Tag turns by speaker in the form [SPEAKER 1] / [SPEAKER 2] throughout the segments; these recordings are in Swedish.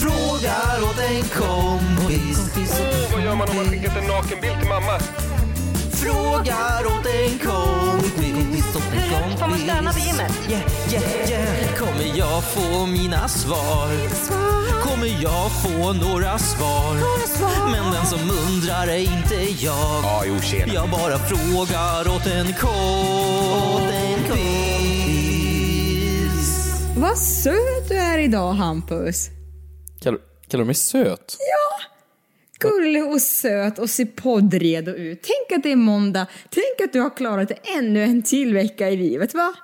[SPEAKER 1] Frågar åt en kompis.
[SPEAKER 2] Oh, Vad gör man om man skickat en nakenbild till mamma?
[SPEAKER 1] Frågar åt en kompis. Hur högt får man stöna på gymmet? Yeah, yeah, yeah. Kommer jag få mina svar? Kommer jag få några svar? Men den som undrar är inte jag.
[SPEAKER 2] Ja, jo, tjena.
[SPEAKER 1] Jag bara frågar åt en kompis.
[SPEAKER 3] Vad söt du är idag Hampus.
[SPEAKER 4] Kallar, kallar du mig söt?
[SPEAKER 3] Gullig och söt och ser poddredo ut. Tänk att det är måndag. Tänk att du har klarat ännu en till vecka i livet va?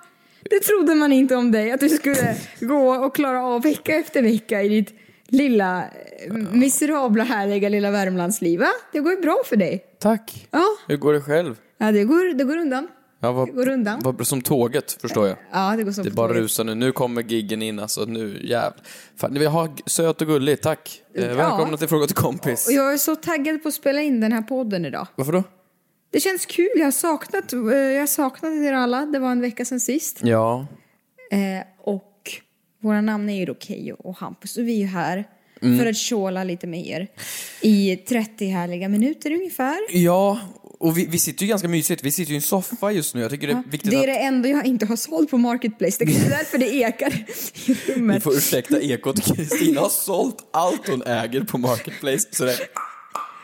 [SPEAKER 3] Det trodde man inte om dig, att du skulle gå och klara av vecka efter vecka i ditt lilla eh, miserabla härliga lilla Värmlandsliv va? Det går ju bra för dig.
[SPEAKER 4] Tack.
[SPEAKER 3] Ja,
[SPEAKER 4] Hur går det själv?
[SPEAKER 3] ja det, går, det går undan.
[SPEAKER 4] Ja, vad,
[SPEAKER 3] Det går undan.
[SPEAKER 4] Vad, som tåget, förstår jag.
[SPEAKER 3] Ja, det går som
[SPEAKER 4] Det
[SPEAKER 3] på
[SPEAKER 4] bara
[SPEAKER 3] tåget.
[SPEAKER 4] rusar nu. Nu kommer giggen in, alltså. Nu jävlar. Fan, vi har g- söt och gullig, tack. Eh,
[SPEAKER 3] Ja.
[SPEAKER 4] Välkomna till Fråga till kompis.
[SPEAKER 3] Och jag är så taggad på att spela in den här podden idag.
[SPEAKER 4] Varför då?
[SPEAKER 3] Det känns kul, jag har saknat, eh, jag har saknat er alla. Det var en vecka sedan sist.
[SPEAKER 4] Ja.
[SPEAKER 3] Eh, och våra namn är ju då Keyyo och Hampus och vi är ju här
[SPEAKER 4] Mm.
[SPEAKER 3] för att tjåla lite med er i 30 härliga minuter ungefär.
[SPEAKER 4] Ja, och vi, vi sitter ju ganska mysigt. Vi sitter ju i en soffa just nu. Jag tycker det är Eh, viktigt
[SPEAKER 3] Det är
[SPEAKER 4] att...
[SPEAKER 3] det enda jag inte har sålt på Marketplace. Det är kanske därför det ekar i
[SPEAKER 4] Ni
[SPEAKER 3] rummet.
[SPEAKER 4] får ursäkta ekot. Kristina har sålt allt hon äger på Marketplace. Så det,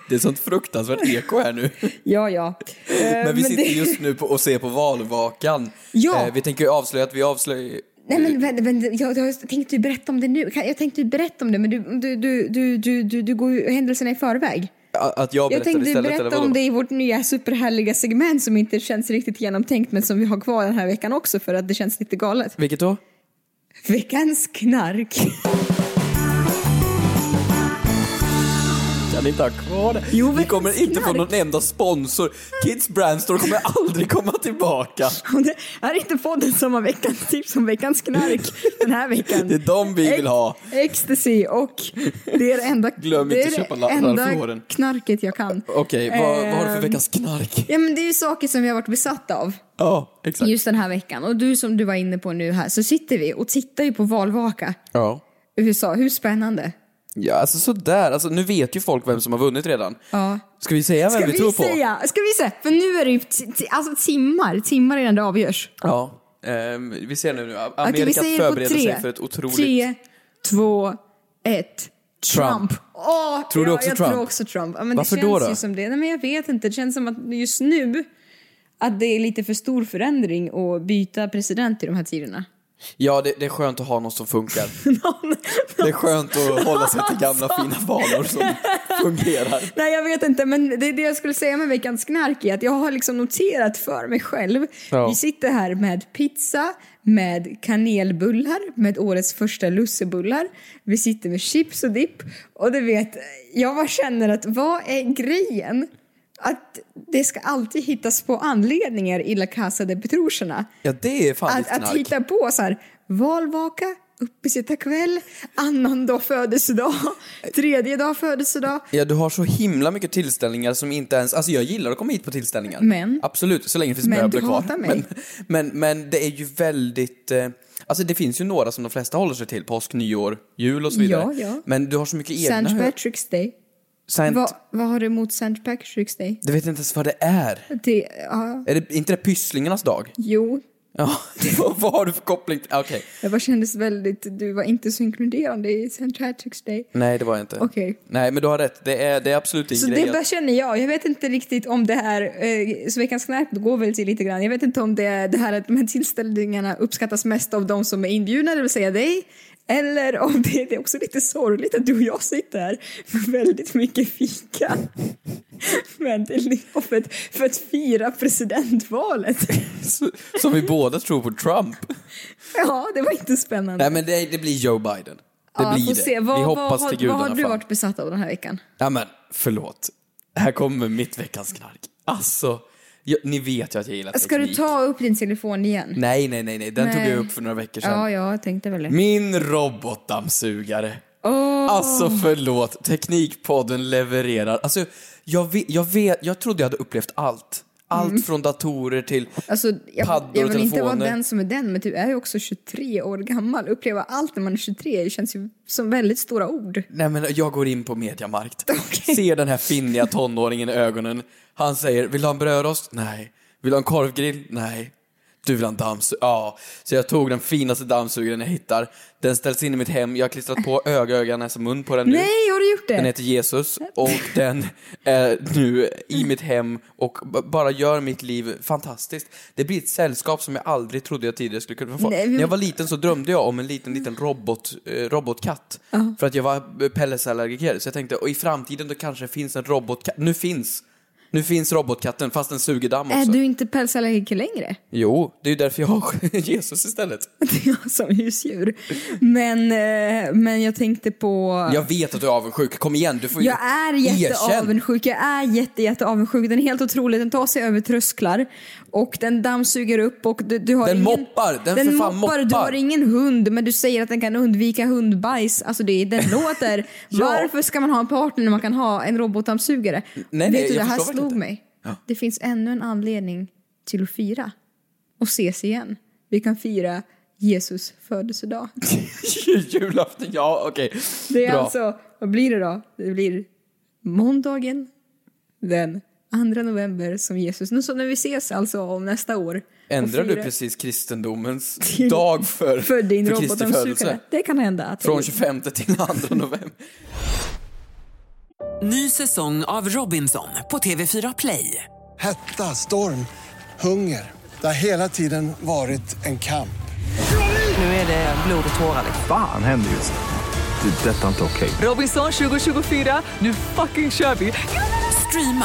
[SPEAKER 4] det är sånt fruktansvärt eko här nu.
[SPEAKER 3] Ja, ja. Eh,
[SPEAKER 4] Men vi
[SPEAKER 3] men
[SPEAKER 4] sitter
[SPEAKER 3] det-
[SPEAKER 4] just nu på och ser på valvakan.
[SPEAKER 3] Ja.
[SPEAKER 4] Eh, vi tänker ju avslöja att vi avslöjar...
[SPEAKER 3] Nej men, vänta, vänta, jag, jag tänkte ju berätta om det nu. Kan- Jag tänkte ju berätta om det men du, du, du, du, du, du, du går ju händelserna i förväg.
[SPEAKER 4] Att jag
[SPEAKER 3] Jag
[SPEAKER 4] berättar
[SPEAKER 3] tänkte ju
[SPEAKER 4] istället
[SPEAKER 3] berätta
[SPEAKER 4] eller vadå?
[SPEAKER 3] om det i vårt nya superhärliga segment som inte känns riktigt genomtänkt men som vi har kvar den här veckan också för att det känns lite galet.
[SPEAKER 4] Vilket då?
[SPEAKER 3] Veckans knark.
[SPEAKER 4] Kan inte ha kvar det.
[SPEAKER 3] Jo,
[SPEAKER 4] vi kommer inte få
[SPEAKER 3] knark.
[SPEAKER 4] någon enda sponsor. Kids Brandstore kommer aldrig komma tillbaka.
[SPEAKER 3] Och det är inte podden som har veckans tips som veckans knark den här veckan.
[SPEAKER 4] Det är de vi vill ha.
[SPEAKER 3] Ex- Ecstasy och det är det enda,
[SPEAKER 4] Glöm
[SPEAKER 3] det är
[SPEAKER 4] inte att köpa
[SPEAKER 3] det
[SPEAKER 4] lappar för
[SPEAKER 3] enda
[SPEAKER 4] våren.
[SPEAKER 3] knarket jag kan.
[SPEAKER 4] Okej, vad, vad har du för
[SPEAKER 3] Ehm,
[SPEAKER 4] veckans knark?
[SPEAKER 3] Ja men det är ju saker som vi har varit besatta av
[SPEAKER 4] Ja, exakt.
[SPEAKER 3] just den här veckan. Och du som du var inne på nu här så sitter vi och tittar ju på valvaka.
[SPEAKER 4] Ja.
[SPEAKER 3] USA, hur spännande?
[SPEAKER 4] ja, alltså sådär. Alltså, nu vet ju folk vem som har vunnit redan.
[SPEAKER 3] Ja.
[SPEAKER 4] Ska vi säga vem
[SPEAKER 3] Ska
[SPEAKER 4] vi,
[SPEAKER 3] vi
[SPEAKER 4] tror på?
[SPEAKER 3] säga? Ska vi säga? För nu är det ju t- t- alltså timmar, timmar innan det avgörs.
[SPEAKER 4] Ja. Ehm, vi ser nu. nu.
[SPEAKER 3] Okej,
[SPEAKER 4] Amerika
[SPEAKER 3] vi säger
[SPEAKER 4] förbereder
[SPEAKER 3] på tre.
[SPEAKER 4] sig för ett otroligt...
[SPEAKER 3] Tre, två, ett. Trump.
[SPEAKER 4] Trump.
[SPEAKER 3] Åh,
[SPEAKER 4] Tror du
[SPEAKER 3] ja,
[SPEAKER 4] också
[SPEAKER 3] jag
[SPEAKER 4] Trump?
[SPEAKER 3] tror också Trump. Ja, men
[SPEAKER 4] Varför
[SPEAKER 3] det
[SPEAKER 4] då
[SPEAKER 3] känns
[SPEAKER 4] då?
[SPEAKER 3] Ju som det. Nej, men jag vet inte. Det känns som att just nu att det är lite för stor förändring att byta president i de här tiderna.
[SPEAKER 4] Ja, det, det är skönt att ha någon som funkar. Det är skönt att hålla sig till gamla
[SPEAKER 3] Alltså.
[SPEAKER 4] fina vanor som fungerar.
[SPEAKER 3] Nej, jag vet inte. Men det, det jag skulle säga med veckans knark är att jag har liksom noterat för mig själv.
[SPEAKER 4] Ja.
[SPEAKER 3] Vi sitter här med pizza, med kanelbullar, med årets första lussebullar. Vi sitter med chips och dipp. Och du vet, jag bara känner att vad är grejen? Att det ska alltid hittas på anledningar i La Casa de Petroserna
[SPEAKER 4] Ja, det är fan
[SPEAKER 3] att,
[SPEAKER 4] ditt
[SPEAKER 3] att
[SPEAKER 4] knark.
[SPEAKER 3] hitta på så här, valvaka, uppesittarkväll, annandag födelsedag, tredje dag födelsedag.
[SPEAKER 4] Ja, du har så himla mycket tillställningar som inte ens... Alltså jag gillar att komma hit på tillställningar.
[SPEAKER 3] Men-
[SPEAKER 4] Absolut, så länge det finns
[SPEAKER 3] Men
[SPEAKER 4] möbler
[SPEAKER 3] du
[SPEAKER 4] kvar.
[SPEAKER 3] hatar mig.
[SPEAKER 4] Men, men, men det är ju väldigt... Eh, alltså det finns ju några som de flesta håller sig till. Påsk, nyår, jul och så vidare.
[SPEAKER 3] Ja, ja.
[SPEAKER 4] Men du har så mycket egna...
[SPEAKER 3] St. Patrick's Day.
[SPEAKER 4] Saint...
[SPEAKER 3] Vad, vad har du emot St. Patrick's Day?
[SPEAKER 4] Du vet inte ens vad det är.
[SPEAKER 3] Det, ja,
[SPEAKER 4] Är det inte det pysslingarnas dag?
[SPEAKER 3] jo,
[SPEAKER 4] Ja, vad, vad har du för koppling till... Okej.
[SPEAKER 3] det bara kändes väldigt... Du var inte så inkluderande i St. Patrick's Day.
[SPEAKER 4] Nej, det var jag inte.
[SPEAKER 3] Okej.
[SPEAKER 4] Nej, men du har rätt. Det är, det är absolut din
[SPEAKER 3] Så
[SPEAKER 4] grej.
[SPEAKER 3] det bara känner jag. Jag vet inte riktigt om det här... Eh, så Veckans knark går väl till lite grann. Jag vet inte om det, det här att de här tillställningarna uppskattas mest av de som är inbjudna, det vill säga dig. Eller om det, det är också lite sorgligt att du och jag sitter här med väldigt mycket fika. Men det är liksom för att, för att fira presidentvalet.
[SPEAKER 4] S- Som vi båda tror på Trump.
[SPEAKER 3] Ja, det var inte spännande.
[SPEAKER 4] Nej, men det, det blir Joe Biden. Det
[SPEAKER 3] ja,
[SPEAKER 4] blir
[SPEAKER 3] får
[SPEAKER 4] det.
[SPEAKER 3] se. Vad,
[SPEAKER 4] vi
[SPEAKER 3] vad,
[SPEAKER 4] hoppas
[SPEAKER 3] har-
[SPEAKER 4] till gudarna
[SPEAKER 3] Vad har du
[SPEAKER 4] fan.
[SPEAKER 3] varit besatt av den här veckan?
[SPEAKER 4] Ja, men förlåt. Här kommer mitt veckans knark. Alltså, jag, ni vet ju att jag gillar
[SPEAKER 3] Ska du
[SPEAKER 4] teknik.
[SPEAKER 3] ta upp din telefon igen?
[SPEAKER 4] Nej, nej, nej, nej. Den tog
[SPEAKER 3] Nej.
[SPEAKER 4] jag upp för några veckor sedan.
[SPEAKER 3] Ja, jag tänkte väl det.
[SPEAKER 4] Min robotdammsugare.
[SPEAKER 3] Åh,
[SPEAKER 4] Alltså förlåt, Teknikpodden levererar. Alltså, jag, vet, jag, vet, jag trodde jag hade upplevt allt. Allt från datorer till
[SPEAKER 3] Mm. alltså, jag,
[SPEAKER 4] paddor och
[SPEAKER 3] jag vill inte vara
[SPEAKER 4] telefoner.
[SPEAKER 3] den som är den, men du är ju också 23 år gammal. Uppleva allt när man är 23 känns ju som väldigt stora ord.
[SPEAKER 4] Nej men jag går in på Mediamarkt, ser den här finniga tonåringen i ögonen. Han säger, vill du ha en brödrost? Nej. Vill du ha en korvgrill? Nej. Du vill ha en dammsugare? Ja. Så jag tog den finaste dammsugaren jag hittar. Den ställs in i mitt hem, jag har klistrat på öga, öga, näsa, mun på den nu.
[SPEAKER 3] Nej, har du gjort det?
[SPEAKER 4] Den heter Jesus och den är nu i mitt hem och b- bara gör mitt liv fantastiskt. Det blir ett sällskap som jag aldrig trodde jag tidigare skulle kunna få.
[SPEAKER 3] Nej, men-
[SPEAKER 4] När jag var liten så drömde jag om en liten, liten robot, eh, robotkatt. För att jag var pellesallergiker. Så jag tänkte, och i framtiden då kanske det finns en robotkatt. Nu finns! Nu finns robotkatten, fast den suger damm
[SPEAKER 3] Är
[SPEAKER 4] också.
[SPEAKER 3] Äh, du inte pälsallergiker längre?
[SPEAKER 4] Jo, det är ju därför jag har Jesus istället.
[SPEAKER 3] Det är jag som husdjur. Men, eh, men jag tänkte på...
[SPEAKER 4] Jag vet att du är avundsjuk, kom igen, du får ju
[SPEAKER 3] Jag är
[SPEAKER 4] Erkänn.
[SPEAKER 3] jätteavundsjuk. Jag är jätte, jätteavundsjuk. Den är helt otrolig. Den tar sig över trösklar och den dammsuger upp och du, du har
[SPEAKER 4] Den
[SPEAKER 3] ingen...
[SPEAKER 4] moppar. Den för fan
[SPEAKER 3] Du
[SPEAKER 4] moppar.
[SPEAKER 3] har ingen hund, men du säger att den kan undvika hundbajs. Alltså det, den låter.
[SPEAKER 4] Ja.
[SPEAKER 3] Varför ska man ha en partner när man kan ha en robotdammsugare?
[SPEAKER 4] nej,
[SPEAKER 3] Vet du,
[SPEAKER 4] jag
[SPEAKER 3] det här
[SPEAKER 4] förstår
[SPEAKER 3] slog
[SPEAKER 4] verkligen inte.
[SPEAKER 3] mig. Det finns ännu en anledning till att fira och ses igen. Vi kan fira Jesus födelsedag.
[SPEAKER 4] Julafton, ja okej.
[SPEAKER 3] Det är
[SPEAKER 4] Bra.
[SPEAKER 3] alltså, vad blir det då? Det blir måndagen den 2 november som Jesus. Nu så när vi ses alltså om nästa år. och
[SPEAKER 4] Ändrar du
[SPEAKER 3] firar-
[SPEAKER 4] precis kristendomens
[SPEAKER 3] Till-
[SPEAKER 4] dag för,
[SPEAKER 3] För din
[SPEAKER 4] för Kristi
[SPEAKER 3] robotdammsugare.
[SPEAKER 4] födelse?
[SPEAKER 3] Det kan hända. Att
[SPEAKER 4] Från 25 till 2 november.
[SPEAKER 5] Ny säsong av Robinson på TV4 Play.
[SPEAKER 6] Hetta, storm, hunger. Det har hela tiden varit en kamp.
[SPEAKER 5] Nu är det blod och tårar.
[SPEAKER 7] Fan händer just det. Det är detta inte okej.
[SPEAKER 5] Robinson 2024, nu fucking kör vi! Streama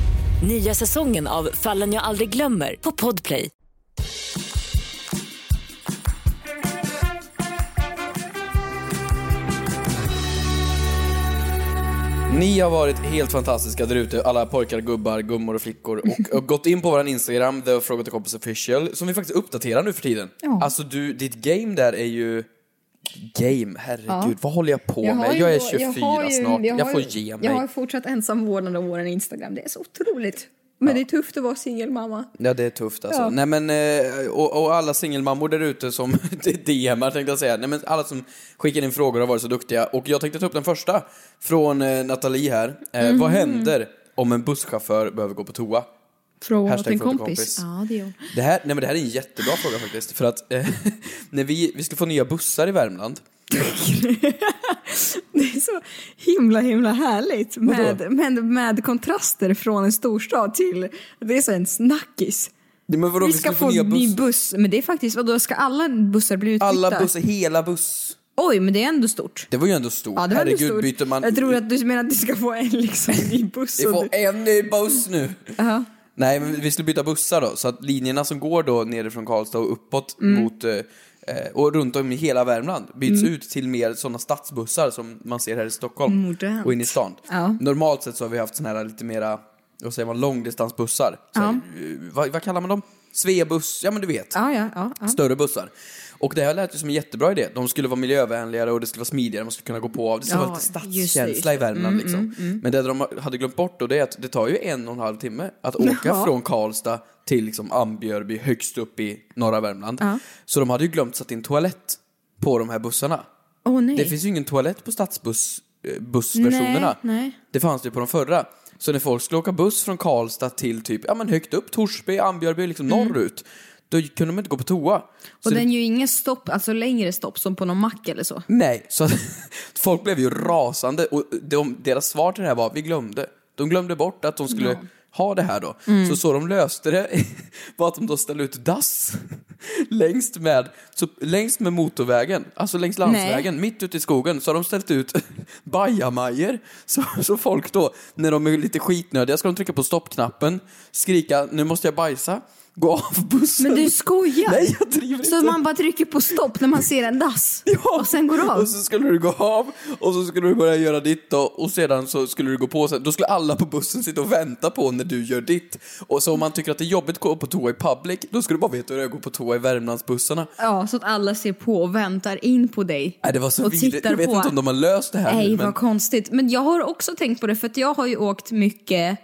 [SPEAKER 8] Nya säsongen av Fallen jag aldrig glömmer på Podplay.
[SPEAKER 4] Ni har varit helt fantastiska där ute, alla pojkar, gubbar, gummor och flickor. Och, och gått in på vår Instagram, The Fråga till Kompis Official, som vi faktiskt uppdaterar nu för tiden. Alltså du, ditt game där är ju... Game, herregud, vad håller jag på med? Jag är 24 snart, jag, får ge mig.
[SPEAKER 3] Jag har fortsatt ensam vårdnad om vår Instagram. Det är så otroligt. Men det är tufft att vara singelmamma.
[SPEAKER 4] Ja det är tufft alltså.
[SPEAKER 3] Ja.
[SPEAKER 4] Nej, men, eh, och, och alla singelmammor där ute som DMar tänkte jag säga. Nej, men alla som skickar in frågor har varit så duktiga. Och jag tänkte ta upp den första från eh, Nathalie här. Eh, Vad
[SPEAKER 3] Mhm.
[SPEAKER 4] händer om en busschaufför behöver gå på toa?
[SPEAKER 3] Från
[SPEAKER 4] Hashtag
[SPEAKER 3] en
[SPEAKER 4] från en
[SPEAKER 3] kompis.
[SPEAKER 4] kompis.
[SPEAKER 3] Ja, det gör
[SPEAKER 4] Det här, nej, men det här är en jättebra fråga faktiskt. För att eh, när vi, vi skulle få nya bussar i Värmland.
[SPEAKER 3] Det är så himla, himla härligt med, med, med kontraster från en storstad till... Det är så en snackis.
[SPEAKER 4] Nej, Men vadå,
[SPEAKER 3] vi ska
[SPEAKER 4] skulle
[SPEAKER 3] få en ny buss. Men det är faktiskt, vadå, ska alla bussar bli utbytta?
[SPEAKER 4] Alla bussar, hela buss.
[SPEAKER 3] Oj, men det är ändå stort.
[SPEAKER 4] Det var ju ändå stort.
[SPEAKER 3] Ja, det var ändå
[SPEAKER 4] Herregud,
[SPEAKER 3] stort.
[SPEAKER 4] byter man...
[SPEAKER 3] Jag tror att du menar att du ska få en liksom, ny buss.
[SPEAKER 4] Vi
[SPEAKER 3] och
[SPEAKER 4] får
[SPEAKER 3] du-
[SPEAKER 4] en ny buss nu. Nej, men vi skulle byta bussar då, så att linjerna som går då nerifrån Karlstad och uppåt
[SPEAKER 3] Mm.
[SPEAKER 4] mot eh, eh, och runt om i hela Värmland byts ut till mer sådana stadsbussar som man ser här i Stockholm
[SPEAKER 3] Mm, Modernt.
[SPEAKER 4] och in i stan.
[SPEAKER 3] Ja.
[SPEAKER 4] Normalt sett så har vi haft sådana här lite mera, vad säger man, långdistansbussar. Så här, eh, vad, vad kallar man dem? Sveabuss, ja men du vet
[SPEAKER 3] Ja, ja, ja. ja.
[SPEAKER 4] större bussar. Och det här lät ju som en jättebra idé. De skulle vara miljövänligare och det skulle vara smidigare, man skulle kunna gå på av. Det skulle
[SPEAKER 3] Ja,
[SPEAKER 4] vara lite
[SPEAKER 3] just det, just
[SPEAKER 4] stadskänsla
[SPEAKER 3] det. Mm,
[SPEAKER 4] i Värmland liksom. Men det de hade glömt bort då, det är att det tar ju en och en halv timme att åka
[SPEAKER 3] Ja.
[SPEAKER 4] från Karlstad till liksom Ambjörby, högst upp i norra Värmland. Så de hade ju glömt sätta in toalett på de här bussarna.
[SPEAKER 3] Åh nej.
[SPEAKER 4] Det finns ju ingen toalett på stadsbussversionerna.
[SPEAKER 3] Nej, nej.
[SPEAKER 4] Det fanns det ju på de förra. Så när folk skulle åka buss från Karlstad till typ, ja men högt upp, Torsby, Ambjörby, liksom norrut. Då kunde man inte gå på toa. Så
[SPEAKER 3] Mm. och
[SPEAKER 4] det-
[SPEAKER 3] den gör ju ingen stopp, alltså längre stopp som på någon mack eller så.
[SPEAKER 4] Nej, så att, folk blev ju rasande och de, deras svar till det här var vi glömde. De glömde bort att de skulle ha det här då.
[SPEAKER 9] Mm.
[SPEAKER 4] Så så de löste det var att de då ställde ut dass längst med, så, längst med motorvägen, alltså längs landsvägen, mitt ute i skogen, så har de ställt ut bajamajor. Så, så folk då, när de är lite skitnödiga, ska de trycka på stoppknappen, skrika nu måste jag bajsa, gå av bussen.
[SPEAKER 3] Men du skojar?
[SPEAKER 4] Nej, jag driver
[SPEAKER 3] Så
[SPEAKER 4] inte.
[SPEAKER 3] man bara trycker på stopp när man ser en dass? Och sen går det av?
[SPEAKER 4] Och så skulle du gå av och så skulle du börja göra ditt då, och sedan så skulle du gå på sen. Då skulle alla på bussen sitta och vänta på när du gör ditt. Och så om man tycker att det är jobbigt att gå på toa i public, då skulle du bara veta hur det är att gå på toa i Värmlandsbussarna.
[SPEAKER 3] Ja, så att alla ser på och väntar in på dig.
[SPEAKER 4] Nej, det var så
[SPEAKER 3] och
[SPEAKER 4] vidrigt.
[SPEAKER 3] tittar
[SPEAKER 4] Jag vet
[SPEAKER 3] på.
[SPEAKER 4] inte om de har löst det här
[SPEAKER 3] Nej,
[SPEAKER 4] nu,
[SPEAKER 3] vad konstigt. Men jag har också tänkt på det för att jag har ju åkt mycket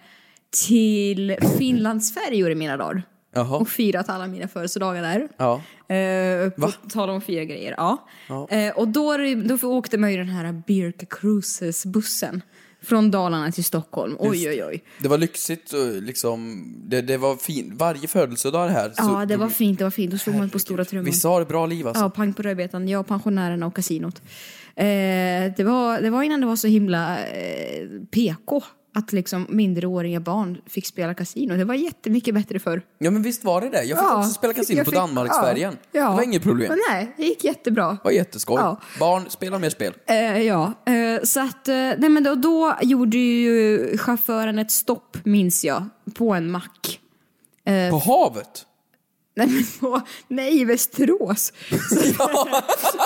[SPEAKER 3] till Finlandsfärjor i mina dagar.
[SPEAKER 4] Jaha.
[SPEAKER 3] Och firat alla mina födelsedagar där.
[SPEAKER 4] Ja.
[SPEAKER 3] Eh, på tal om fyra grejer, ja.
[SPEAKER 4] Ja.
[SPEAKER 3] Eh, och då, är det- då åkte man ju den här Birka Cruises-bussen. Från Dalarna till Stockholm. Oj,
[SPEAKER 4] Just.
[SPEAKER 3] oj, oj.
[SPEAKER 4] Det var lyxigt och liksom, det, det var fint. Varje födelsedag det här.
[SPEAKER 3] Ja, det var fint, det var fint. Då slog man på stora trumman.
[SPEAKER 4] Vissa har ett bra liv alltså.
[SPEAKER 3] Ja, pang på rödbetan. Jag, pensionärerna och kasinot. Eh, det, var, det var innan det var så himla eh, PK att liksom mindreåriga barn fick spela kasino. Det var jättemycket bättre förr.
[SPEAKER 4] Ja men visst var det det. Jag fick
[SPEAKER 3] Ja,
[SPEAKER 4] också spela kasino
[SPEAKER 3] jag
[SPEAKER 4] på
[SPEAKER 3] fick-
[SPEAKER 4] Danmarksfärjan.
[SPEAKER 3] ja, ja.
[SPEAKER 4] Det var inget problem.
[SPEAKER 3] Men nej, det gick jättebra.
[SPEAKER 4] Det var jätteskoj.
[SPEAKER 3] Ja.
[SPEAKER 4] Barn, spela mer spel.
[SPEAKER 3] Eh, ja, eh, så att eh, nej, men då, då gjorde ju chauffören ett stopp, minns jag, på en mack. Eh,
[SPEAKER 4] På havet?
[SPEAKER 3] Nej, men på, nej, i Västerås. Så,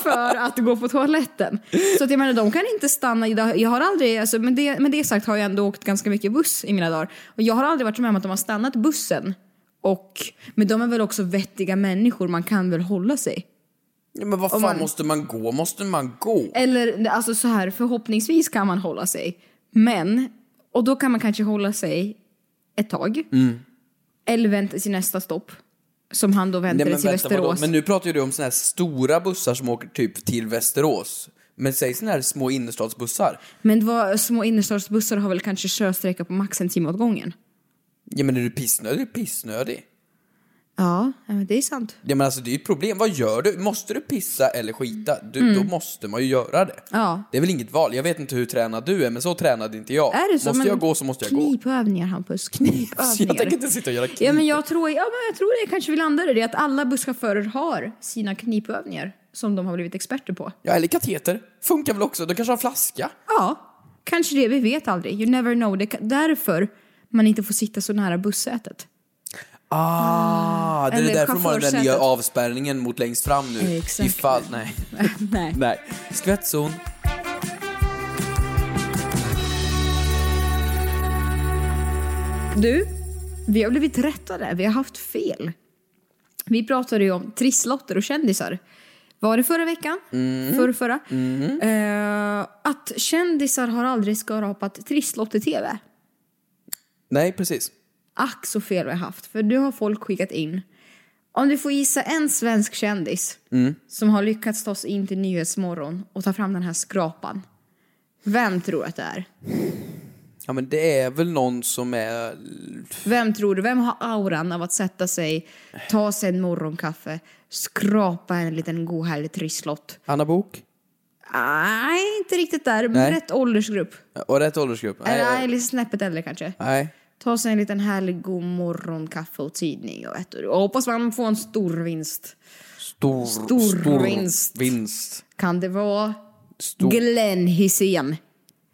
[SPEAKER 3] för att gå på toaletten. Så att jag menar, de kan inte stanna. Jag har aldrig, alltså, med, det, med det sagt har jag ändå åkt ganska mycket buss i mina dagar. Och jag har aldrig varit med om att de har stannat bussen. Och, men de är väl också vettiga människor, man kan väl hålla sig?
[SPEAKER 4] Ja, men vad fan
[SPEAKER 3] Om man-
[SPEAKER 4] måste man gå? Måste man gå?
[SPEAKER 3] Eller alltså så här, förhoppningsvis kan man hålla sig. Men, och då kan man kanske hålla sig ett tag.
[SPEAKER 4] Mm.
[SPEAKER 3] Eller vänta till nästa stopp. Som han då väntade
[SPEAKER 4] men,
[SPEAKER 3] till
[SPEAKER 4] vänta, vadå?
[SPEAKER 3] Västerås.
[SPEAKER 4] men nu pratar ju du om såna här stora bussar som åker typ till Västerås. Men säg såna här små innerstadsbussar.
[SPEAKER 3] Men vad, små innerstadsbussar har väl kanske körsträcka på max en timme åt gången?
[SPEAKER 4] Ja men är du pissnödig? Är du pissnödig?
[SPEAKER 3] Ja, ja, men det är sant.
[SPEAKER 4] Ja men alltså det är ju ett problem. Vad gör du? Måste du pissa eller skita? Du,
[SPEAKER 3] Mm.
[SPEAKER 4] Då måste man ju göra det.
[SPEAKER 3] Ja.
[SPEAKER 4] Det är väl inget val. Jag vet inte hur tränad du är men så tränad är inte jag.
[SPEAKER 3] Är det så?
[SPEAKER 4] Måste
[SPEAKER 3] Men
[SPEAKER 4] jag gå så måste jag gå.
[SPEAKER 3] Knipövningar, Hampus.
[SPEAKER 4] Så jag tänker
[SPEAKER 3] Knipövningar.
[SPEAKER 4] inte sitta och göra knip.
[SPEAKER 3] Ja, men jag tror, ja, men jag tror det kanske vi landar i det, att alla busschaufförer har sina knipövningar som de har blivit experter på.
[SPEAKER 4] Ja eller kateter. Funkar väl också? Du kanske har flaska?
[SPEAKER 3] Ja, kanske det. Vi vet aldrig. You never know. Det är därför man inte får sitta så nära bussätet.
[SPEAKER 4] Ah, det är
[SPEAKER 3] Eller
[SPEAKER 4] därför de har den där nya
[SPEAKER 3] chaufförsätet.
[SPEAKER 4] avspärrningen mot längst fram nu.
[SPEAKER 3] Exakt.
[SPEAKER 4] Ifall, nej.
[SPEAKER 3] Nej.
[SPEAKER 4] nej. Skvättzon.
[SPEAKER 3] Du, vi har blivit rättade. Vi har haft fel. Vi pratade ju om trisslotter och kändisar. Var det förra veckan?
[SPEAKER 9] Mm.
[SPEAKER 3] Förra, förra.
[SPEAKER 9] Mm.
[SPEAKER 3] Eh, att kändisar har aldrig skrapat trisslotter-tv.
[SPEAKER 4] Nej, precis.
[SPEAKER 3] Ack så fel vi har haft, för nu har folk skickat in. Om du får gissa en svensk kändis
[SPEAKER 4] Mm.
[SPEAKER 3] som har lyckats ta sig in till Nyhetsmorgon och ta fram den här skrapan. Vem tror du att det är?
[SPEAKER 4] Ja, men det är väl någon som är...
[SPEAKER 3] Vem tror du? Vem har auran av att sätta sig, ta sig en morgonkaffe, skrapa en liten god härlig trisslott?
[SPEAKER 4] Anna Bok
[SPEAKER 3] Nej, inte riktigt där, men
[SPEAKER 4] Nej.
[SPEAKER 3] rätt åldersgrupp.
[SPEAKER 4] Och rätt åldersgrupp?
[SPEAKER 3] Eller
[SPEAKER 4] nej.
[SPEAKER 3] nej, lite snäppet äldre kanske.
[SPEAKER 4] nej.
[SPEAKER 3] Ta sig en liten härlig god morgonkaffe och tidning och ett och hoppas man får en stor vinst.
[SPEAKER 4] Stor,
[SPEAKER 3] Stor vinst.
[SPEAKER 4] vinst.
[SPEAKER 3] Kan det vara
[SPEAKER 4] Stor.
[SPEAKER 3] Glenn Hysén?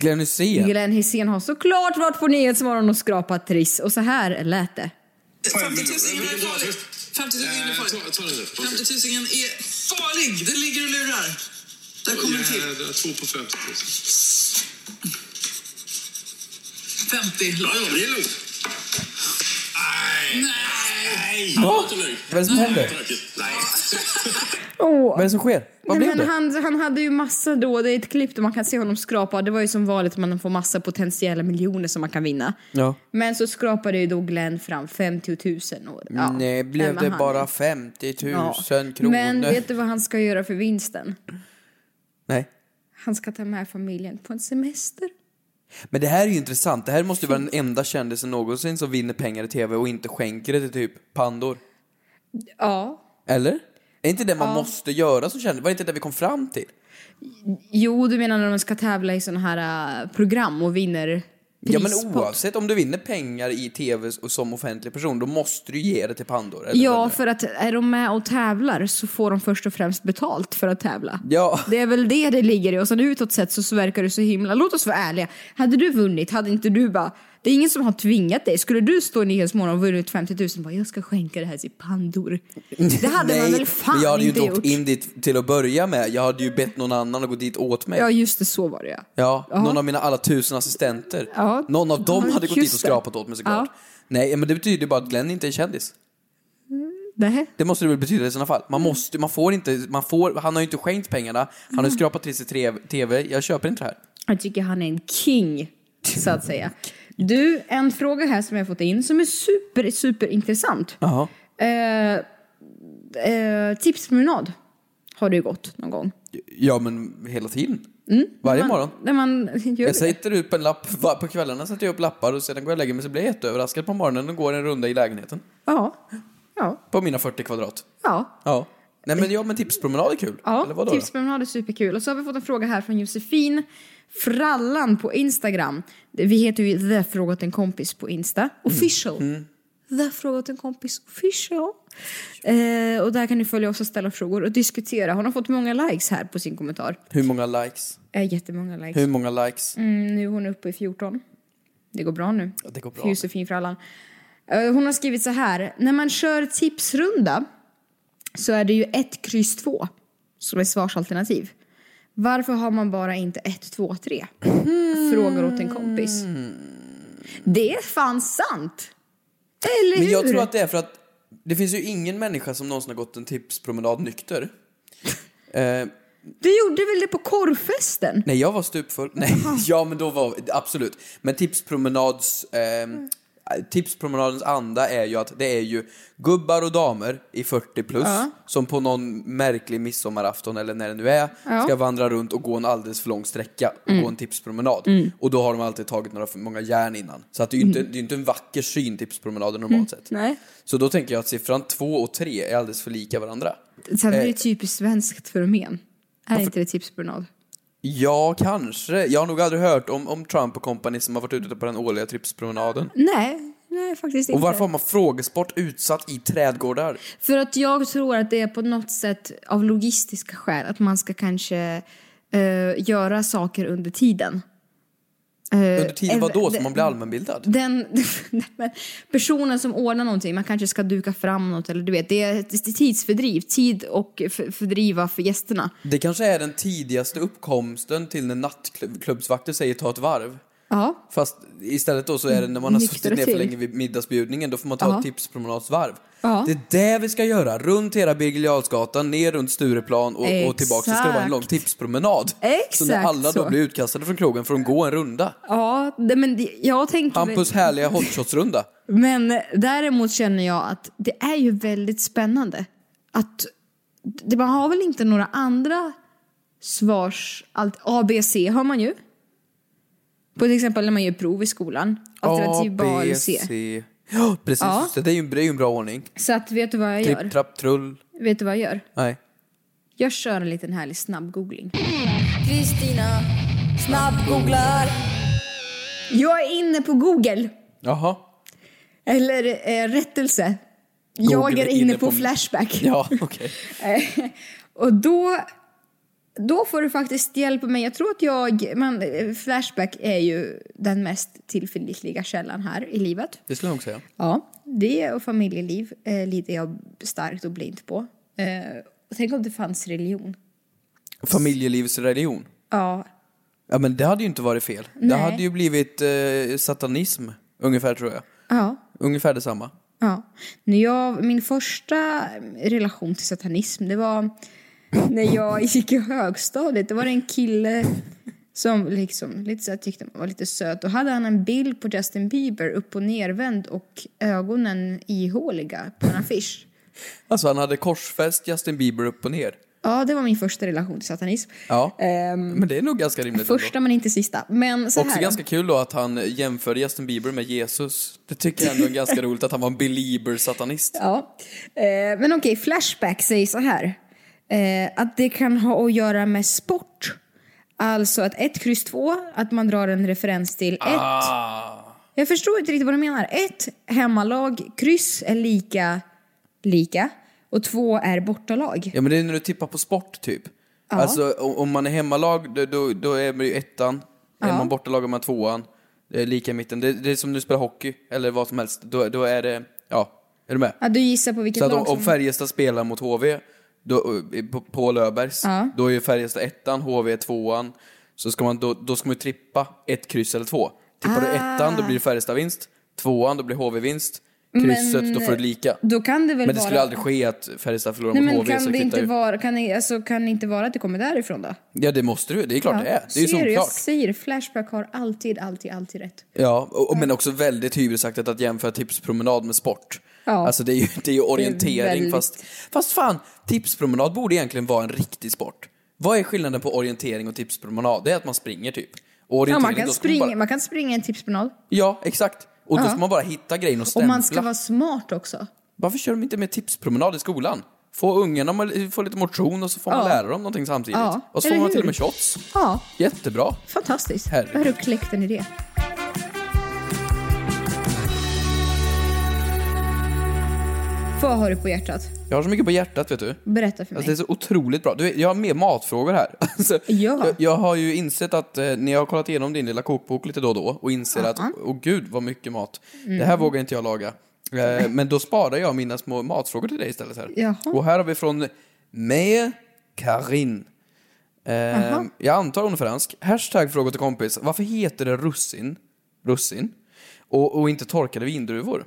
[SPEAKER 4] Glenn Hysén.
[SPEAKER 3] Glenn Hysén har såklart varit på Nyhetsmorgon och skrapat triss och så här lät det.
[SPEAKER 10] 50 000 är farligt. 50 000 är farligt. 50 000 är farlig. Den ligger och lurar. Där kommer den till.
[SPEAKER 11] Två på 50 000.
[SPEAKER 10] 50. Ja, ja, det är lugnt. Nej!
[SPEAKER 4] Va? Vad är det som händer?
[SPEAKER 3] Åh.
[SPEAKER 4] Vad är det som sker?
[SPEAKER 3] Nej,
[SPEAKER 4] Vad blev
[SPEAKER 3] men
[SPEAKER 4] det?
[SPEAKER 3] han, han hade ju massa då, det är ett klipp där man kan se honom skrapa. Det var ju som vanligt att man får massa potentiella miljoner som man kan vinna.
[SPEAKER 4] Ja.
[SPEAKER 3] Men så skrapade ju då Glenn fram 50 000. Och, ja,
[SPEAKER 4] Mm, Nej,
[SPEAKER 3] nej,
[SPEAKER 4] blev
[SPEAKER 3] men
[SPEAKER 4] det
[SPEAKER 3] han-
[SPEAKER 4] bara 50 000
[SPEAKER 3] Ja.
[SPEAKER 4] kronor?
[SPEAKER 3] Men vet du vad han ska göra för vinsten?
[SPEAKER 4] Nej.
[SPEAKER 3] Han ska ta med familjen på en semester.
[SPEAKER 4] Men det här är ju intressant. Det här måste ju vara den enda kändisen någonsin som vinner pengar i tv och inte skänker det till typ pandor.
[SPEAKER 3] Ja.
[SPEAKER 4] Eller? Är inte det man
[SPEAKER 3] Ja.
[SPEAKER 4] måste göra som kändis? Var det inte det vi kom fram till?
[SPEAKER 3] Jo, du menar när de ska tävla i sådana här eh, äh, program och vinner
[SPEAKER 4] Ja men
[SPEAKER 3] pris på.
[SPEAKER 4] oavsett om du vinner pengar i tv och som offentlig person, då måste du ge det till pandor. Eller
[SPEAKER 3] Ja, för att är de med och tävlar så får de först och främst betalt för att tävla.
[SPEAKER 4] Ja.
[SPEAKER 3] Det är väl det det ligger i. Och sen utåt sett så, så verkar du så himla... Låt oss vara ärliga. Hade du vunnit, hade inte du bara... Det är ingen som har tvingat dig. Skulle du stå i Nyhetsmorgon och vunnit 50 000 bara jag ska skänka det här till pandor. Det hade man väl fan
[SPEAKER 4] men jag hade ju
[SPEAKER 3] inte
[SPEAKER 4] inte
[SPEAKER 3] gjort.
[SPEAKER 4] åkt in dit till att börja med. Jag hade ju bett någon annan att gå dit åt mig.
[SPEAKER 3] Ja,
[SPEAKER 4] Ja,
[SPEAKER 3] just det. Så var det ja. Jaha.
[SPEAKER 4] någon av mina alla tusen assistenter.
[SPEAKER 3] Ja.
[SPEAKER 4] Någon av dem
[SPEAKER 3] Ja,
[SPEAKER 4] hade gått
[SPEAKER 3] just
[SPEAKER 4] dit
[SPEAKER 3] det.
[SPEAKER 4] och skrapat åt mig såklart.
[SPEAKER 3] Ja.
[SPEAKER 4] Nej, men det betyder ju bara att Glenn inte är kändis.
[SPEAKER 3] Nähä.
[SPEAKER 4] Det måste det väl betyda i sådana fall.
[SPEAKER 3] Mm.
[SPEAKER 4] Man måste, man får inte, man får, han har ju inte skänkt pengarna, han
[SPEAKER 3] Mm.
[SPEAKER 4] har ju skrapat till sig tre- TV, jag köper inte det här.
[SPEAKER 3] Jag tycker han är en king, så att säga. Du, en fråga här som jag har fått in som är super, super intressant.
[SPEAKER 4] Jaha.
[SPEAKER 3] Eh, eh, tipspromenad har du ju gått någon gång.
[SPEAKER 4] Ja men hela tiden.
[SPEAKER 3] Mm.
[SPEAKER 4] Varje
[SPEAKER 3] När man-
[SPEAKER 4] morgon.
[SPEAKER 3] När man gör
[SPEAKER 4] Jag sätter upp en lapp va- på kvällarna, sätter jag upp lappar och sedan går jag och lägger mig så blir jag jätteöverraskad på morgonen och går en runda i lägenheten.
[SPEAKER 3] Ja. Ja.
[SPEAKER 4] På mina 40 kvadrat.
[SPEAKER 3] Ja.
[SPEAKER 4] Ja. Nej men ja men tipspromenad är kul.
[SPEAKER 3] Ja,
[SPEAKER 4] Eller vadå då?
[SPEAKER 3] tipspromenad är superkul. Och så har vi fått en fråga här från Josefin Frallan på Instagram. Vi heter ju The Frågat en kompis på
[SPEAKER 4] Mm.
[SPEAKER 3] Insta. Official. The Frågat en kompis official. Eh, och där kan ni följa oss och ställa frågor och diskutera. Hon har fått många likes här på sin kommentar.
[SPEAKER 4] Hur många likes?
[SPEAKER 3] Eh, jättemånga likes.
[SPEAKER 4] Hur många likes?
[SPEAKER 3] Mm, nu är hon uppe i 14. Det går bra nu.
[SPEAKER 4] det går bra.
[SPEAKER 3] För Josefin Frallan. Eh, Hon har skrivit så här. När man kör tipsrunda så är det ju 1, kryss 2 som är svarsalternativ. Varför har man bara inte 1, 2, 3?
[SPEAKER 4] Mm.
[SPEAKER 3] Frågar åt en kompis. Det är fan sant! Eller hur?
[SPEAKER 4] Men jag tror att det är för att det finns ju ingen människa som någonsin har gått en tipspromenad nykter. Eh,
[SPEAKER 3] Du gjorde väl det på korvfesten?
[SPEAKER 4] Nej, jag var stupfull. Nej, ja men då var, absolut. Men tipspromenads, eh, tipspromenadens anda är ju att det är ju gubbar och damer i 40 plus
[SPEAKER 3] Ja.
[SPEAKER 4] som på någon märklig midsommarafton eller när det nu är
[SPEAKER 3] Ja.
[SPEAKER 4] ska vandra runt och gå en alldeles för lång sträcka och
[SPEAKER 3] Mm.
[SPEAKER 4] gå en tipspromenad.
[SPEAKER 3] Mm.
[SPEAKER 4] Och då har de alltid tagit några för många järn innan. Så att det är ju inte, det är ju inte en vacker syn tipspromenaden normalt
[SPEAKER 3] Mm.
[SPEAKER 4] sett.
[SPEAKER 3] Nej.
[SPEAKER 4] Så då tänker jag att siffran två och tre är alldeles för lika varandra.
[SPEAKER 3] Sen är det
[SPEAKER 4] Eh,
[SPEAKER 3] ju typiskt svenskt fenomen. Är inte det tipspromenad?
[SPEAKER 4] Ja, kanske. Jag har nog aldrig hört om, om Trump och company som har varit ute på den årliga tipspromenaden.
[SPEAKER 3] Nej, nej faktiskt inte.
[SPEAKER 4] Och varför har man frågesport utsatt i trädgårdar?
[SPEAKER 3] För att jag tror att det är på något sätt av logistiska skäl att man ska kanske eh, göra saker under tiden. Eh,
[SPEAKER 4] Under tiden
[SPEAKER 3] ev-
[SPEAKER 4] vadå? Så
[SPEAKER 3] de-
[SPEAKER 4] man blir allmänbildad?
[SPEAKER 3] Den nej, men personen som ordnar någonting, man kanske ska duka fram något eller du vet, det är ett tidsfördriv, tid och f- fördriva för gästerna.
[SPEAKER 4] Det kanske är den tidigaste uppkomsten till när nattklubbsvakter säger ta ett varv.
[SPEAKER 3] Ja,
[SPEAKER 4] Fast istället då så är det när man har
[SPEAKER 3] Nyktra
[SPEAKER 4] suttit ner för
[SPEAKER 3] till.
[SPEAKER 4] länge vid middagsbjudningen, då får man ta
[SPEAKER 3] Ja.
[SPEAKER 4] ett tipspromenadsvarv.
[SPEAKER 3] Ja.
[SPEAKER 4] Det är det vi ska göra, runt hela Birger Jarlsgatan, ner runt Stureplan och, och tillbaka. Så ska det vara en lång tipspromenad. så när
[SPEAKER 3] Exakt
[SPEAKER 4] alla
[SPEAKER 3] så.
[SPEAKER 4] då blir utkastade från krogen får de gå en runda.
[SPEAKER 3] ja det, men det, jag tänker... väl-
[SPEAKER 4] Hampus härliga hotshotsrunda.
[SPEAKER 3] Men däremot känner jag att det är ju väldigt spännande. Att det, man har väl inte några andra svars... Allt, A, B, C har man ju. På till exempel när man gör prov i skolan. Alternativ
[SPEAKER 4] A,
[SPEAKER 3] B,
[SPEAKER 4] B,
[SPEAKER 3] eller typ C.
[SPEAKER 4] C. Ja, precis.
[SPEAKER 3] Ja.
[SPEAKER 4] just Det Det är ju en, det är ju en bra ordning.
[SPEAKER 3] Så att vet du vad jag gör?
[SPEAKER 4] Tripp, trapp, trull.
[SPEAKER 3] Vet du vad jag gör?
[SPEAKER 4] Nej.
[SPEAKER 3] Jag kör en liten härlig snabbgoogling.
[SPEAKER 9] Kristina snabbgooglar.
[SPEAKER 3] Jag är inne på Google.
[SPEAKER 4] Jaha.
[SPEAKER 3] Eller eh, rättelse. jag
[SPEAKER 4] Google
[SPEAKER 3] är inne, på, Flashback.
[SPEAKER 4] Ja, okej.
[SPEAKER 3] Eh, och då, då får du faktiskt hjälp av mig. Jag tror att jag... Men eh, flashback är ju den mest tillförlitliga källan här i livet.
[SPEAKER 4] Det skulle jag nog säga.
[SPEAKER 3] Ja. Det och familjeliv eh, lider jag starkt och blint på. Eh, och tänk om det fanns religion.
[SPEAKER 4] Familjelivets religion.
[SPEAKER 3] Ja.
[SPEAKER 4] Ja, men det hade ju inte varit fel. Det
[SPEAKER 3] Nej.
[SPEAKER 4] hade ju blivit eh, satanism, ungefär tror jag.
[SPEAKER 3] Ja.
[SPEAKER 4] Ungefär detsamma.
[SPEAKER 3] Ja. När jag, min första relation till satanism det var när jag gick i högstadiet. Det var en kille som liksom, lite så här, tyckte man var lite söt. Då hade han en bild på Justin Bieber upp och nervänd och ögonen ihåliga på en affisch.
[SPEAKER 4] Alltså han hade korsfäst Justin Bieber upp och ner.
[SPEAKER 3] Ja, det var min första relation till satanism.
[SPEAKER 4] Ja.
[SPEAKER 3] Ehm,
[SPEAKER 4] Men det är nog ganska rimligt ändå.
[SPEAKER 3] första men inte sista. Men så
[SPEAKER 4] Också
[SPEAKER 3] här.
[SPEAKER 4] ganska kul då att han jämförde Justin Bieber med Jesus. Det tycker jag ändå är ganska roligt att han var en belieber-satanist.
[SPEAKER 3] Ja. Eh, men okej, Flashback säger så här. Eh, att det kan ha att göra med sport. Alltså att 1, kryss 2, att man drar en referens till 1. Jag förstår inte riktigt vad du menar. 1, hemmalag, kryss är lika, lika. Och 2 är bortalag.
[SPEAKER 4] Ja men det är när du tippar på sport typ.
[SPEAKER 3] Ja.
[SPEAKER 4] Alltså o- om man är hemmalag då, då, då är man ju ettan. Är
[SPEAKER 3] Ja.
[SPEAKER 4] man bortalag är man tvåan. Det är lika i mitten. Det, det är som när du spelar hockey eller vad som helst. Då, då är det, ja, är du med?
[SPEAKER 3] Ja, du gissar på vilket
[SPEAKER 4] Så att om,
[SPEAKER 3] lag
[SPEAKER 4] om Färjestad spelar mot HV då, eh, på, på Löfbergs,
[SPEAKER 3] Ja.
[SPEAKER 4] då är ju Färjestad ettan, HV är tvåan. Så ska man, då, då ska man ju trippa ett kryss eller två. Tippar du
[SPEAKER 3] Ah.
[SPEAKER 4] ettan, då blir det Färjestad vinst. Tvåan, då blir HV vinst. Krysset,
[SPEAKER 3] Men,
[SPEAKER 4] då får du lika.
[SPEAKER 3] Då kan det väl
[SPEAKER 4] Men det skulle
[SPEAKER 3] vara-
[SPEAKER 4] aldrig ske att Färjestad förlorar
[SPEAKER 3] Nej,
[SPEAKER 4] mot
[SPEAKER 3] men
[SPEAKER 4] HV. så
[SPEAKER 3] kan det,
[SPEAKER 4] kvittar
[SPEAKER 3] inte
[SPEAKER 4] ju.
[SPEAKER 3] vara, kan, det, alltså, kan det inte vara att det kommer därifrån då?
[SPEAKER 4] Ja, det måste du. Det är klart
[SPEAKER 3] Ja.
[SPEAKER 4] det är. Det är ju
[SPEAKER 3] Ser du? Jag
[SPEAKER 4] solklart.
[SPEAKER 3] säger Flashback har alltid, alltid, alltid rätt.
[SPEAKER 4] Ja, och, och, men också väldigt hybrisaktigt att jämföra tipspromenad med sport.
[SPEAKER 3] Ja.
[SPEAKER 4] Alltså det är ju, det är ju orientering
[SPEAKER 3] väldigt-
[SPEAKER 4] fast, fast fan, tipspromenad borde egentligen vara en riktig sport. Vad är skillnaden på orientering och tipspromenad? Det är att man springer typ. Och
[SPEAKER 3] Ja,
[SPEAKER 4] orientering,
[SPEAKER 3] man, kan
[SPEAKER 4] då ska man
[SPEAKER 3] springa,
[SPEAKER 4] bara-
[SPEAKER 3] man kan springa en tipspromenad.
[SPEAKER 4] Ja, exakt. Och då
[SPEAKER 3] Ja.
[SPEAKER 4] ska man bara hitta grejen och
[SPEAKER 3] Och
[SPEAKER 4] stämpla.
[SPEAKER 3] man ska vara smart också.
[SPEAKER 4] Varför kör de inte med tipspromenad i skolan? Få ungarna att få lite motion och så får man
[SPEAKER 3] Ja.
[SPEAKER 4] lära dem någonting samtidigt.
[SPEAKER 3] Ja,
[SPEAKER 4] Och så
[SPEAKER 3] eller
[SPEAKER 4] får man till
[SPEAKER 3] hur?
[SPEAKER 4] och med shots.
[SPEAKER 3] Ja,
[SPEAKER 4] Jättebra.
[SPEAKER 3] fantastiskt.
[SPEAKER 4] Herregud.
[SPEAKER 3] Där har du kläckt en idé. Vad har du på hjärtat?
[SPEAKER 4] Jag har så mycket på hjärtat vet du.
[SPEAKER 3] Berätta för mig.
[SPEAKER 4] Alltså, det är så otroligt bra. Du, jag har mer matfrågor här. Alltså, jag, jag har ju insett att eh, när jag har kollat igenom din lilla kokbok lite då och då och inser att, åh gud vad mycket mat. Det här
[SPEAKER 11] Mm.
[SPEAKER 4] vågar inte jag laga. Eh, men då sparar jag mina små matfrågor till dig istället här.
[SPEAKER 11] Jaha.
[SPEAKER 4] Och här har vi från Me Karin. Eh,
[SPEAKER 11] Jaha.
[SPEAKER 4] jag antar hon är fransk. Hashtag fråga till kompis. Varför heter det russin? Russin? Och, och inte torkade vindruvor?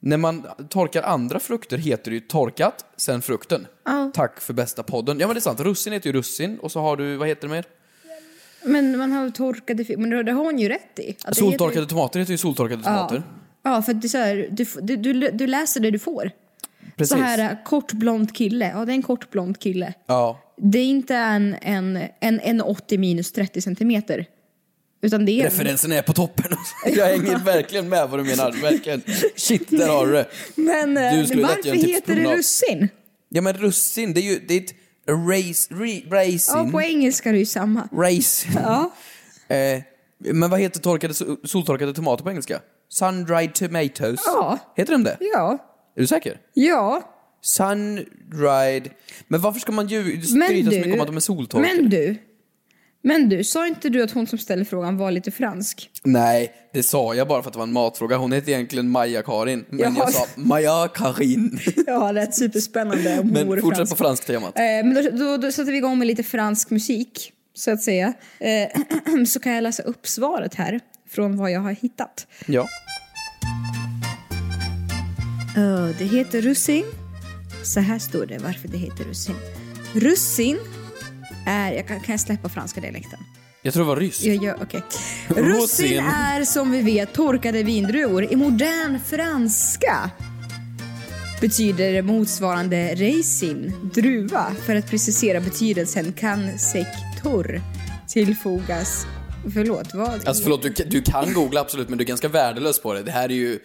[SPEAKER 4] När man torkar andra frukter heter det ju torkat, sen frukten.
[SPEAKER 3] Ja.
[SPEAKER 4] Tack för bästa podden. Ja men det är sant, russin heter ju russin och så har du, vad heter det mer?
[SPEAKER 3] Men man har ju torkade fi- Men det har hon ju rätt i. Att det
[SPEAKER 4] soltorkade
[SPEAKER 3] heter-
[SPEAKER 4] tomater heter ju soltorkade tomater.
[SPEAKER 3] Ja, för att det är så här, du, f- du, du, du läser det du får.
[SPEAKER 4] Precis.
[SPEAKER 3] Så här, äh, kort blond kille. Ja, det är en kort blond kille.
[SPEAKER 4] Ja.
[SPEAKER 3] Det är inte en, en, en, en 80 minus 30 centimeter. Utan det är... en-
[SPEAKER 4] Referensen är på toppen. Jag hänger verkligen med vad du menar, verkligen. Shit, där har du det.
[SPEAKER 3] Men äh,
[SPEAKER 4] Du skulle lätt
[SPEAKER 3] varför
[SPEAKER 4] göra en
[SPEAKER 3] heter det
[SPEAKER 4] tipspromenad.
[SPEAKER 3] russin?
[SPEAKER 4] Ja men russin, det är ju, det är ett race, re,
[SPEAKER 3] Ja,
[SPEAKER 4] racing.
[SPEAKER 3] på engelska är det ju samma.
[SPEAKER 4] Race.
[SPEAKER 3] Ja.
[SPEAKER 4] Eh, men vad heter torkade, soltorkade tomater på engelska? Sun-dried tomatoes.
[SPEAKER 3] Ja.
[SPEAKER 4] Heter de det?
[SPEAKER 3] Ja.
[SPEAKER 4] Är du säker?
[SPEAKER 3] Ja.
[SPEAKER 4] Sun-dried. Men varför ska man ju
[SPEAKER 3] Men
[SPEAKER 4] skryta så
[SPEAKER 3] du-
[SPEAKER 4] mycket om att de är soltorkade?
[SPEAKER 3] Men du. Men du, sa inte du att hon som ställde frågan var lite fransk?
[SPEAKER 4] Nej, det sa jag bara för att det var en matfråga. Hon heter egentligen Maja-Karin, men
[SPEAKER 3] Jaha.
[SPEAKER 4] jag sa Maja-Karin.
[SPEAKER 3] Ja, det är superspännande om hon
[SPEAKER 4] Men
[SPEAKER 3] vore
[SPEAKER 4] fortsätt
[SPEAKER 3] fransk.
[SPEAKER 4] på fransk temat.
[SPEAKER 3] Eh, men då, då, då sätter vi igång med lite fransk musik, så att säga. Eh, så kan jag läsa upp svaret här, från vad jag har hittat.
[SPEAKER 4] Ja.
[SPEAKER 3] Eh, det heter russin. Så här står det varför det heter russin. Russin är... Jag kan, kan jag släppa franska dialekten?
[SPEAKER 4] Jag tror det var ryss.
[SPEAKER 3] Jag gör, okej. Russin är som vi vet torkade vindruvor. I modern franska betyder det motsvarande raisin, druva. För att precisera betydelsen kan sektor tillfogas. Förlåt, vad?
[SPEAKER 4] Alltså förlåt, du, du kan googla absolut, men du är ganska värdelös på det. Det här är ju...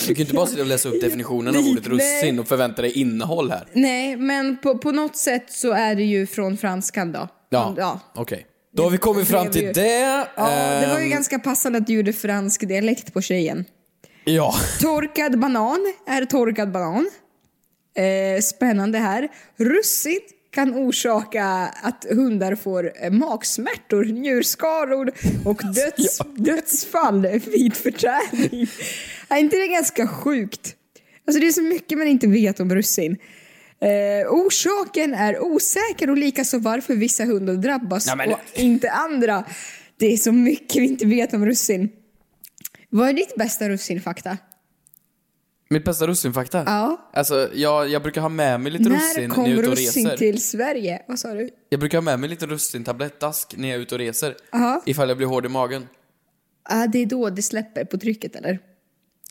[SPEAKER 4] Du kan ju inte bara sitta och läsa upp definitionen av ordet russin och förvänta dig innehåll här.
[SPEAKER 3] Nej, men på, på något sätt så är det ju från franskan då.
[SPEAKER 4] Ja,
[SPEAKER 3] ja.
[SPEAKER 4] okej. Då har vi kommit fram till det.
[SPEAKER 3] Ja, det var ju
[SPEAKER 4] Ehm,
[SPEAKER 3] ganska passande att du gjorde fransk dialekt på tjejen.
[SPEAKER 4] Ja.
[SPEAKER 3] Torkad banan är torkad banan. Eh, spännande här. Russin kan orsaka att hundar får eh, magsmärtor, njurskador och döds, dödsfall vid förtäring. Är inte det ganska sjukt? Alltså det är så mycket man inte vet om russin. Eh, orsaken är osäker och likaså varför vissa hundar drabbas
[SPEAKER 12] Ja, men-
[SPEAKER 3] och inte andra. Det är så mycket vi inte vet om russin. Vad är ditt bästa russinfakta?
[SPEAKER 4] Mitt bästa russinfakta?
[SPEAKER 3] Ja.
[SPEAKER 4] Alltså, jag, jag brukar ha med mig lite russin
[SPEAKER 3] När
[SPEAKER 4] när jag
[SPEAKER 3] kom
[SPEAKER 4] är ute och
[SPEAKER 3] russin
[SPEAKER 4] reser.
[SPEAKER 3] till Sverige? Vad sa du?
[SPEAKER 4] Jag brukar ha med mig lite russintablettask när jag är ute och reser.
[SPEAKER 3] Jaha.
[SPEAKER 4] Ifall jag blir hård i magen.
[SPEAKER 3] Ah, det är då det släpper på trycket eller?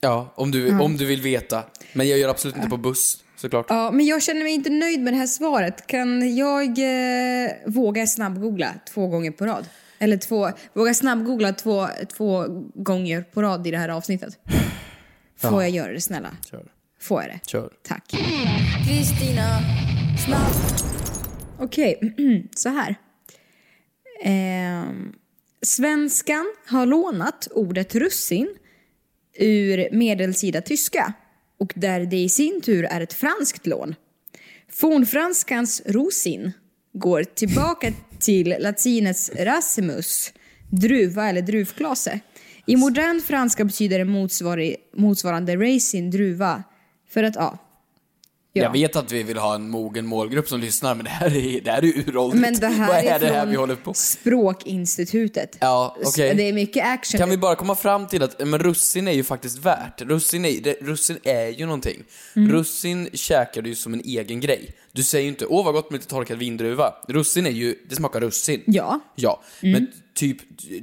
[SPEAKER 4] Ja, om du,
[SPEAKER 3] Ja.
[SPEAKER 4] om du vill veta. Men jag gör absolut inte på buss, såklart.
[SPEAKER 3] Mm. Ja, men jag känner mig inte nöjd med det här svaret. Kan jag eh, våga snabbgoogla två gånger på rad? Eller två, våga snabbgoogla två, två gånger på rad i det här avsnittet? Får
[SPEAKER 9] Ja.
[SPEAKER 3] jag göra det snälla?
[SPEAKER 4] Kör.
[SPEAKER 3] Får jag det?
[SPEAKER 4] Kör.
[SPEAKER 3] Tack.
[SPEAKER 9] Kristina, snabb.
[SPEAKER 3] Okej, så här. Ehm, svenskan har lånat ordet russin ur medeltida tyska och där det i sin tur är ett franskt lån. Fornfranskans rosin går tillbaka till latinets racemus, druva eller druvklase. I modern franska betyder det motsvari- motsvarande raisin, druva. För att, ja.
[SPEAKER 4] Jag vet att vi vill ha en mogen målgrupp som lyssnar, men det här är, det här är uråldrigt.
[SPEAKER 3] Men det här
[SPEAKER 4] Vad
[SPEAKER 3] är
[SPEAKER 4] är det här
[SPEAKER 3] från
[SPEAKER 4] vi håller på?
[SPEAKER 3] Språkinstitutet.
[SPEAKER 4] Ja,
[SPEAKER 3] Så
[SPEAKER 4] okej.
[SPEAKER 3] Det är mycket action.
[SPEAKER 4] Kan vi bara komma fram till att eh, men russin är ju faktiskt värt. Russin är, det, russin är ju någonting.
[SPEAKER 3] Mm.
[SPEAKER 4] Russin käkar du ju som en egen grej. Du säger ju inte åh vad gott med lite torkad vindruva. Russin är ju, det smakar russin.
[SPEAKER 3] Ja. Mm.
[SPEAKER 4] Ja, men typ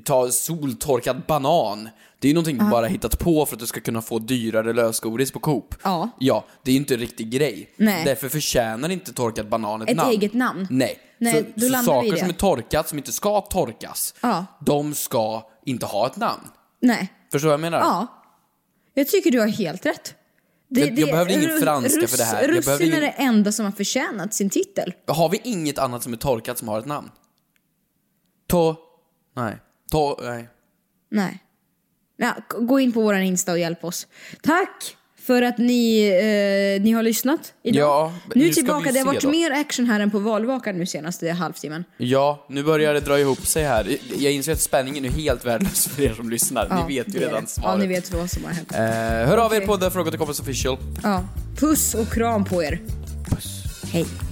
[SPEAKER 4] ta soltorkad banan. Det är ju någonting du
[SPEAKER 3] Ja.
[SPEAKER 4] bara hittat på för att du ska kunna få dyrare lösgodis på Coop.
[SPEAKER 3] Ja.
[SPEAKER 4] Ja, det är ju inte en riktig grej.
[SPEAKER 3] Nej.
[SPEAKER 4] Därför förtjänar inte torkad banan ett,
[SPEAKER 3] Ett
[SPEAKER 4] namn.
[SPEAKER 3] eget namn.
[SPEAKER 4] Nej.
[SPEAKER 3] Nej, då
[SPEAKER 4] så så
[SPEAKER 3] landar vi i
[SPEAKER 4] saker
[SPEAKER 3] det.
[SPEAKER 4] som är torkat, som inte ska torkas,
[SPEAKER 3] Ja.
[SPEAKER 4] de ska inte ha ett namn.
[SPEAKER 3] Nej.
[SPEAKER 4] Förstår vad jag menar?
[SPEAKER 3] Ja. Jag tycker du har helt rätt.
[SPEAKER 4] Jag- jag behövde ingen franska för det här. Jag
[SPEAKER 3] Russin
[SPEAKER 4] behövde ingen-
[SPEAKER 3] är det enda som har förtjänat sin titel.
[SPEAKER 4] Har vi inget annat som är torkat som har ett namn? To... Nej. To... Nej.
[SPEAKER 3] Nej. Ja, k- gå in på våran Insta och hjälp oss. Tack för att ni, eh, ni har lyssnat idag.
[SPEAKER 4] Ja, men
[SPEAKER 3] nu
[SPEAKER 4] nu ska vi
[SPEAKER 3] tillbaka.
[SPEAKER 4] ju
[SPEAKER 3] Det har
[SPEAKER 4] se
[SPEAKER 3] varit
[SPEAKER 4] då.
[SPEAKER 3] mer action här än på valvakan nu senaste halvtimmen.
[SPEAKER 4] Ja, nu börjar det dra ihop sig här. Jag inser att spänningen är helt värdelös för er som lyssnar.
[SPEAKER 3] Ja,
[SPEAKER 4] ni vet
[SPEAKER 3] det
[SPEAKER 4] ju
[SPEAKER 3] är
[SPEAKER 4] redan
[SPEAKER 3] det.
[SPEAKER 4] svaret.
[SPEAKER 3] Ja, ni vet vad som har hänt.
[SPEAKER 4] Eh, hör av er
[SPEAKER 3] Okej.
[SPEAKER 4] på The Fråga till Kompis Official.
[SPEAKER 3] Ja. Puss och kram på er. Hej.